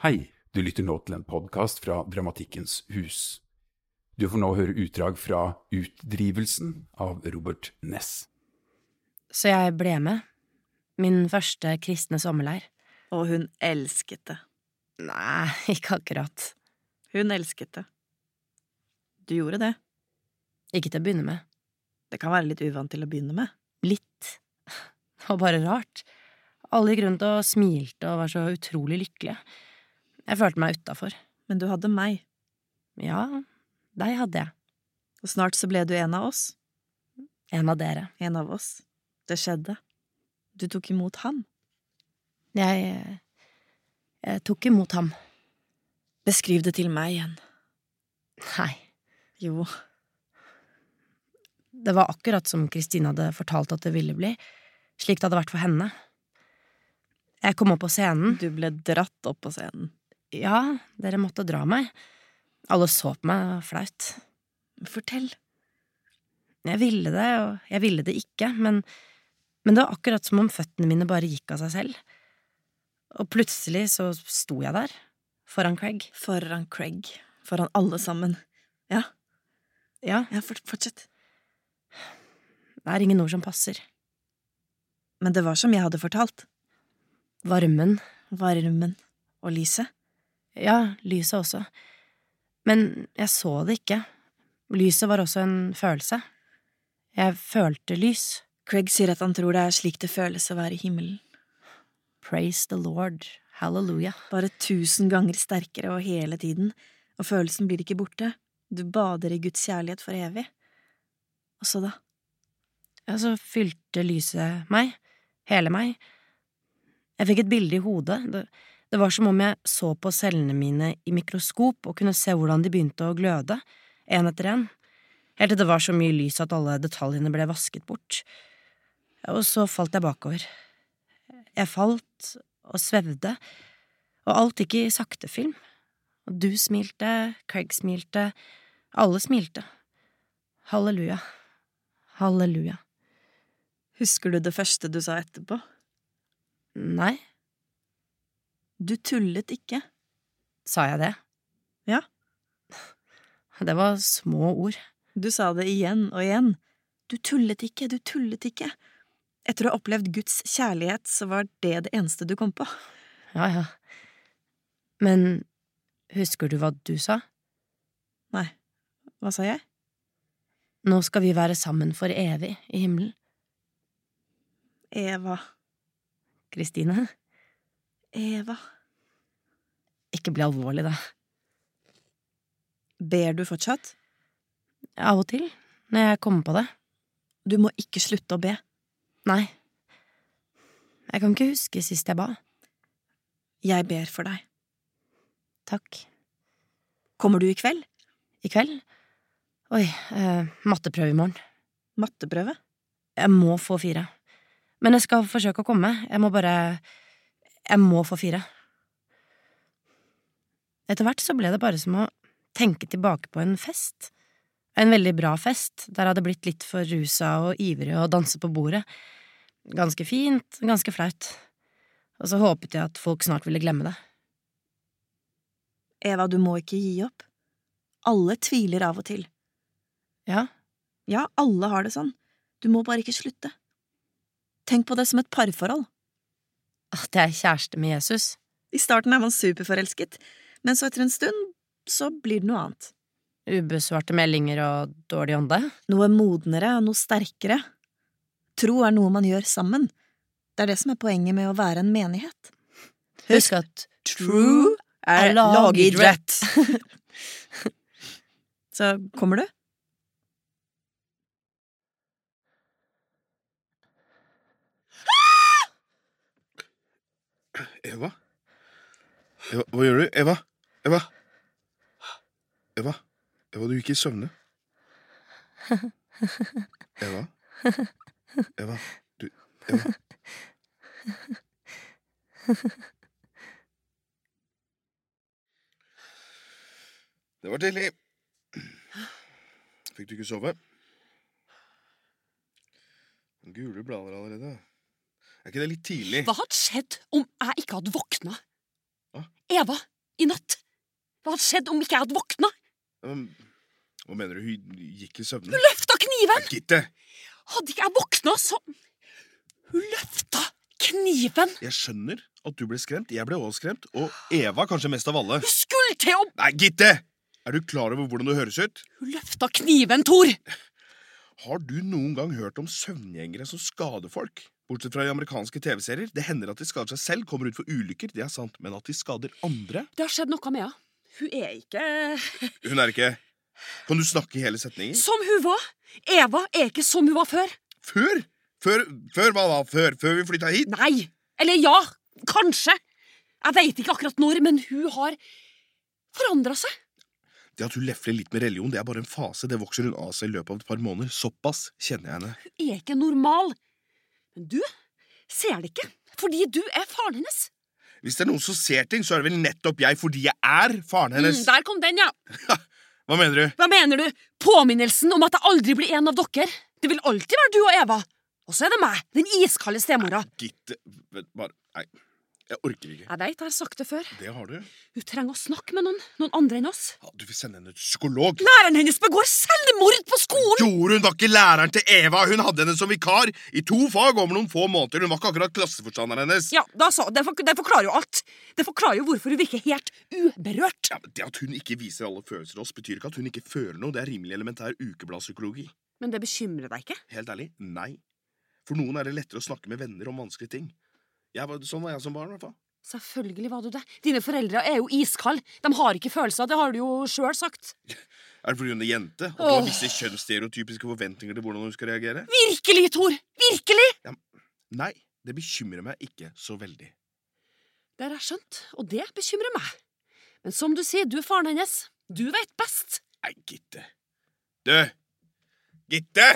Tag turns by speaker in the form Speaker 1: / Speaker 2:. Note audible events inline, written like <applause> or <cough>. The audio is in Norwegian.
Speaker 1: Hei, du lytter nå til en podkast fra Dramatikkens hus. Du får nå høre utdrag fra Utdrivelsen av Robert Ness.
Speaker 2: Så jeg ble med. Min første kristne sommerleir.
Speaker 3: Og hun elsket det.
Speaker 2: Nei, <laughs> ikke akkurat.
Speaker 3: Hun elsket det. Du gjorde det.
Speaker 2: Ikke til å begynne med.
Speaker 3: Det kan være litt uvant til å begynne med.
Speaker 2: Litt. Det var bare rart. Alle gikk rundt og smilte og var så utrolig lykkelige. Jeg følte meg utafor.
Speaker 3: Men du hadde meg,
Speaker 2: Ja, deg hadde jeg.
Speaker 3: og snart så ble du en av oss.
Speaker 2: En av dere.
Speaker 3: En av oss. Det skjedde. Du tok imot han. eh,
Speaker 2: Jeg, jeg tok imot ham.
Speaker 3: Beskriv det til meg igjen.
Speaker 2: Nei.
Speaker 3: Jo,
Speaker 2: Det var akkurat som Kristine hadde fortalt at det ville bli. Slik det hadde vært for henne. Jeg kom opp på scenen.
Speaker 3: du ble dratt opp på scenen.
Speaker 2: Ja, dere måtte dra meg. Alle så på meg det var flaut.
Speaker 3: Fortell.
Speaker 2: Jeg ville det, og jeg ville det ikke, men, men det var akkurat som om føttene mine bare gikk av seg selv. Og plutselig så sto jeg der, foran Craig.
Speaker 3: Foran Craig. Foran alle sammen. Ja,
Speaker 2: Ja,
Speaker 3: ja fort, fortsett.
Speaker 2: det er ingen ord som passer.
Speaker 3: Men det var som jeg hadde fortalt.
Speaker 2: Varmen.
Speaker 3: Varmen og lyset.
Speaker 2: Ja, lyset også. Men jeg så det ikke. Lyset var også en følelse. Jeg følte lys.
Speaker 3: Craig sier at han tror det er slik det føles å være i himmelen.
Speaker 2: Praise the Lord. Hallelujah.
Speaker 3: Bare tusen ganger sterkere og hele tiden, og følelsen blir ikke borte. Du bader i Guds kjærlighet for evig. Og så da?
Speaker 2: Ja, så fylte lyset meg. Hele meg. Jeg fikk et bilde i hodet. Det, det var som om jeg så på cellene mine i mikroskop og kunne se hvordan de begynte å gløde, én etter én. Helt til det var så mye lys at alle detaljene ble vasket bort. Og så falt jeg bakover. Jeg falt og svevde, og alt gikk i saktefilm. Og du smilte, Craig smilte, alle smilte. Halleluja. Halleluja.
Speaker 3: Husker du det første du sa etterpå?
Speaker 2: Nei,
Speaker 3: Du tullet ikke.
Speaker 2: sa jeg det?
Speaker 3: Ja.
Speaker 2: <laughs> Det var små ord.
Speaker 3: Du sa det igjen og igjen. Du tullet ikke, du tullet ikke. Etter å ha opplevd Guds kjærlighet, så var det det eneste du kom på.
Speaker 2: Ja, ja. Men husker du hva du sa?
Speaker 3: Nei, hva sa jeg?
Speaker 2: Nå skal vi være sammen for evig i himmelen.
Speaker 3: Eva,
Speaker 2: Kristine,
Speaker 3: Eva.
Speaker 2: ikke bli alvorlig, da.
Speaker 3: Ber du fortsatt?
Speaker 2: Av og til, når jeg kommer på det.
Speaker 3: Du må ikke slutte å be.
Speaker 2: Nei. Jeg kan ikke huske sist jeg ba.
Speaker 3: Jeg ber for deg.
Speaker 2: Takk.
Speaker 3: Kommer du i kveld?
Speaker 2: I kveld? Oi, eh, matteprøve i morgen.
Speaker 3: Matteprøve?
Speaker 2: Jeg må få fire. Men jeg skal forsøke å komme. Jeg må bare Jeg må få fire. Etter hvert så ble det bare som å tenke tilbake på en fest. En veldig bra fest, der jeg hadde blitt litt for rusa og ivrig og danse på bordet. Ganske fint, ganske flaut. Og så håpet jeg at folk snart ville glemme det.
Speaker 3: Eva, du må ikke gi opp. Alle tviler av og til.
Speaker 2: Ja,
Speaker 3: Ja, alle har det sånn. Du må bare ikke slutte. Tenk på det som et parforhold.
Speaker 2: at jeg er kjæreste med Jesus.
Speaker 3: I starten er man superforelsket, men så etter en stund så blir det noe annet.
Speaker 2: Ubesvarte meldinger og dårlig ånde.
Speaker 3: Noe modnere og noe sterkere. Tro er noe man gjør sammen. Det er det som er poenget med å være en menighet.
Speaker 2: Husk at true er lagidrett.
Speaker 3: <laughs> så kommer du?
Speaker 4: Eva? Eva, hva gjør du? Eva? Eva? Eva? Eva, du gikk i søvne. Eva? Eva, du Eva? Det var tidlig. Fikk du ikke sove? Gule blader allerede. Er ikke det litt tidlig?
Speaker 5: Hva hadde skjedd om jeg ikke hadde våkna?
Speaker 4: Hva?
Speaker 5: Eva, i natt? Hva hadde skjedd om ikke jeg hadde våkna?
Speaker 4: Um, Hva mener du? Hun gikk i søvne?
Speaker 5: Løfta kniven!
Speaker 4: Gitte!
Speaker 5: Hadde ikke jeg våkna, så Hun løfta kniven!
Speaker 4: Jeg skjønner at du ble skremt. Jeg ble også skremt. Og Eva kanskje mest av alle.
Speaker 5: Hun skulle til å
Speaker 4: Nei, Gitte! Er du klar over hvordan du høres ut?
Speaker 5: Hun løfta kniven, Tor!
Speaker 4: Har du noen gang hørt om søvngjengere som skader folk? Bortsett fra i amerikanske TV-serier. Det hender at de skader seg selv, kommer ut for ulykker, det er sant, men at de skader andre
Speaker 5: Det har skjedd noe med henne. Hun er ikke
Speaker 4: Hun er ikke Kan du snakke i hele setninger?
Speaker 5: som hun var. Eva er ikke som hun var før.
Speaker 4: Før? Før, før hva da? Før, før vi flytta hit?
Speaker 5: Nei. Eller ja, kanskje. Jeg veit ikke akkurat når, men hun har forandra seg.
Speaker 4: Det at hun lefler litt med religion, det er bare en fase. Det vokser hun av seg i løpet av et par måneder. Såpass kjenner jeg henne.
Speaker 5: Hun er ikke normal. Men du ser det ikke, fordi du er faren hennes.
Speaker 4: Hvis det er noen som ser ting, så er det vel nettopp jeg, fordi jeg er faren hennes.
Speaker 5: Mm, der kom den, ja.
Speaker 4: Hva mener du?
Speaker 5: Hva mener du? Påminnelsen om at jeg aldri blir en av dere. Det vil alltid være du og Eva. Og så er det meg, den iskalde stemora.
Speaker 4: Gitte vet du, Bare Nei, jeg orker ikke.
Speaker 5: Jeg veit, jeg har sagt det før.
Speaker 4: Det har du.
Speaker 5: Hun trenger å snakke med noen, noen andre enn oss.
Speaker 4: Ja, du vil sende henne til psykolog.
Speaker 5: Læreren hennes begår selvmord på skolen!
Speaker 4: Jorunn var ikke læreren til Eva. Hun hadde henne som vikar i to fag over noen få måneder. Hun var ikke akkurat klasseforstanderen hennes.
Speaker 5: Ja, da så. Det, fork- det forklarer jo alt. Det forklarer jo hvorfor hun virker helt uberørt.
Speaker 4: Ja, men Det at hun ikke viser alle følelser til oss, betyr ikke at hun ikke føler noe. Det er rimelig elementær ukebladspsykologi.
Speaker 5: Men det bekymrer deg ikke?
Speaker 4: Helt ærlig, nei. For noen er det lettere å snakke med venner om vanskelige ting. Jeg var, sånn var jeg som barn, i hvert fall.
Speaker 5: Selvfølgelig var du det. Dine foreldre er jo iskalde. De har ikke følelser, det har du jo sjøl sagt.
Speaker 4: Er det fordi hun er jente? At hun har
Speaker 5: Åh.
Speaker 4: visse kjønnsstereotypiske forventninger til hvordan hun skal reagere?
Speaker 5: Virkelig, Tor! Virkelig!
Speaker 4: Nei, det bekymrer meg ikke så veldig.
Speaker 5: Det har jeg skjønt, og det bekymrer meg. Men som du sier, du er faren hennes. Du veit best.
Speaker 4: Nei, Gitte. Du! Gitte!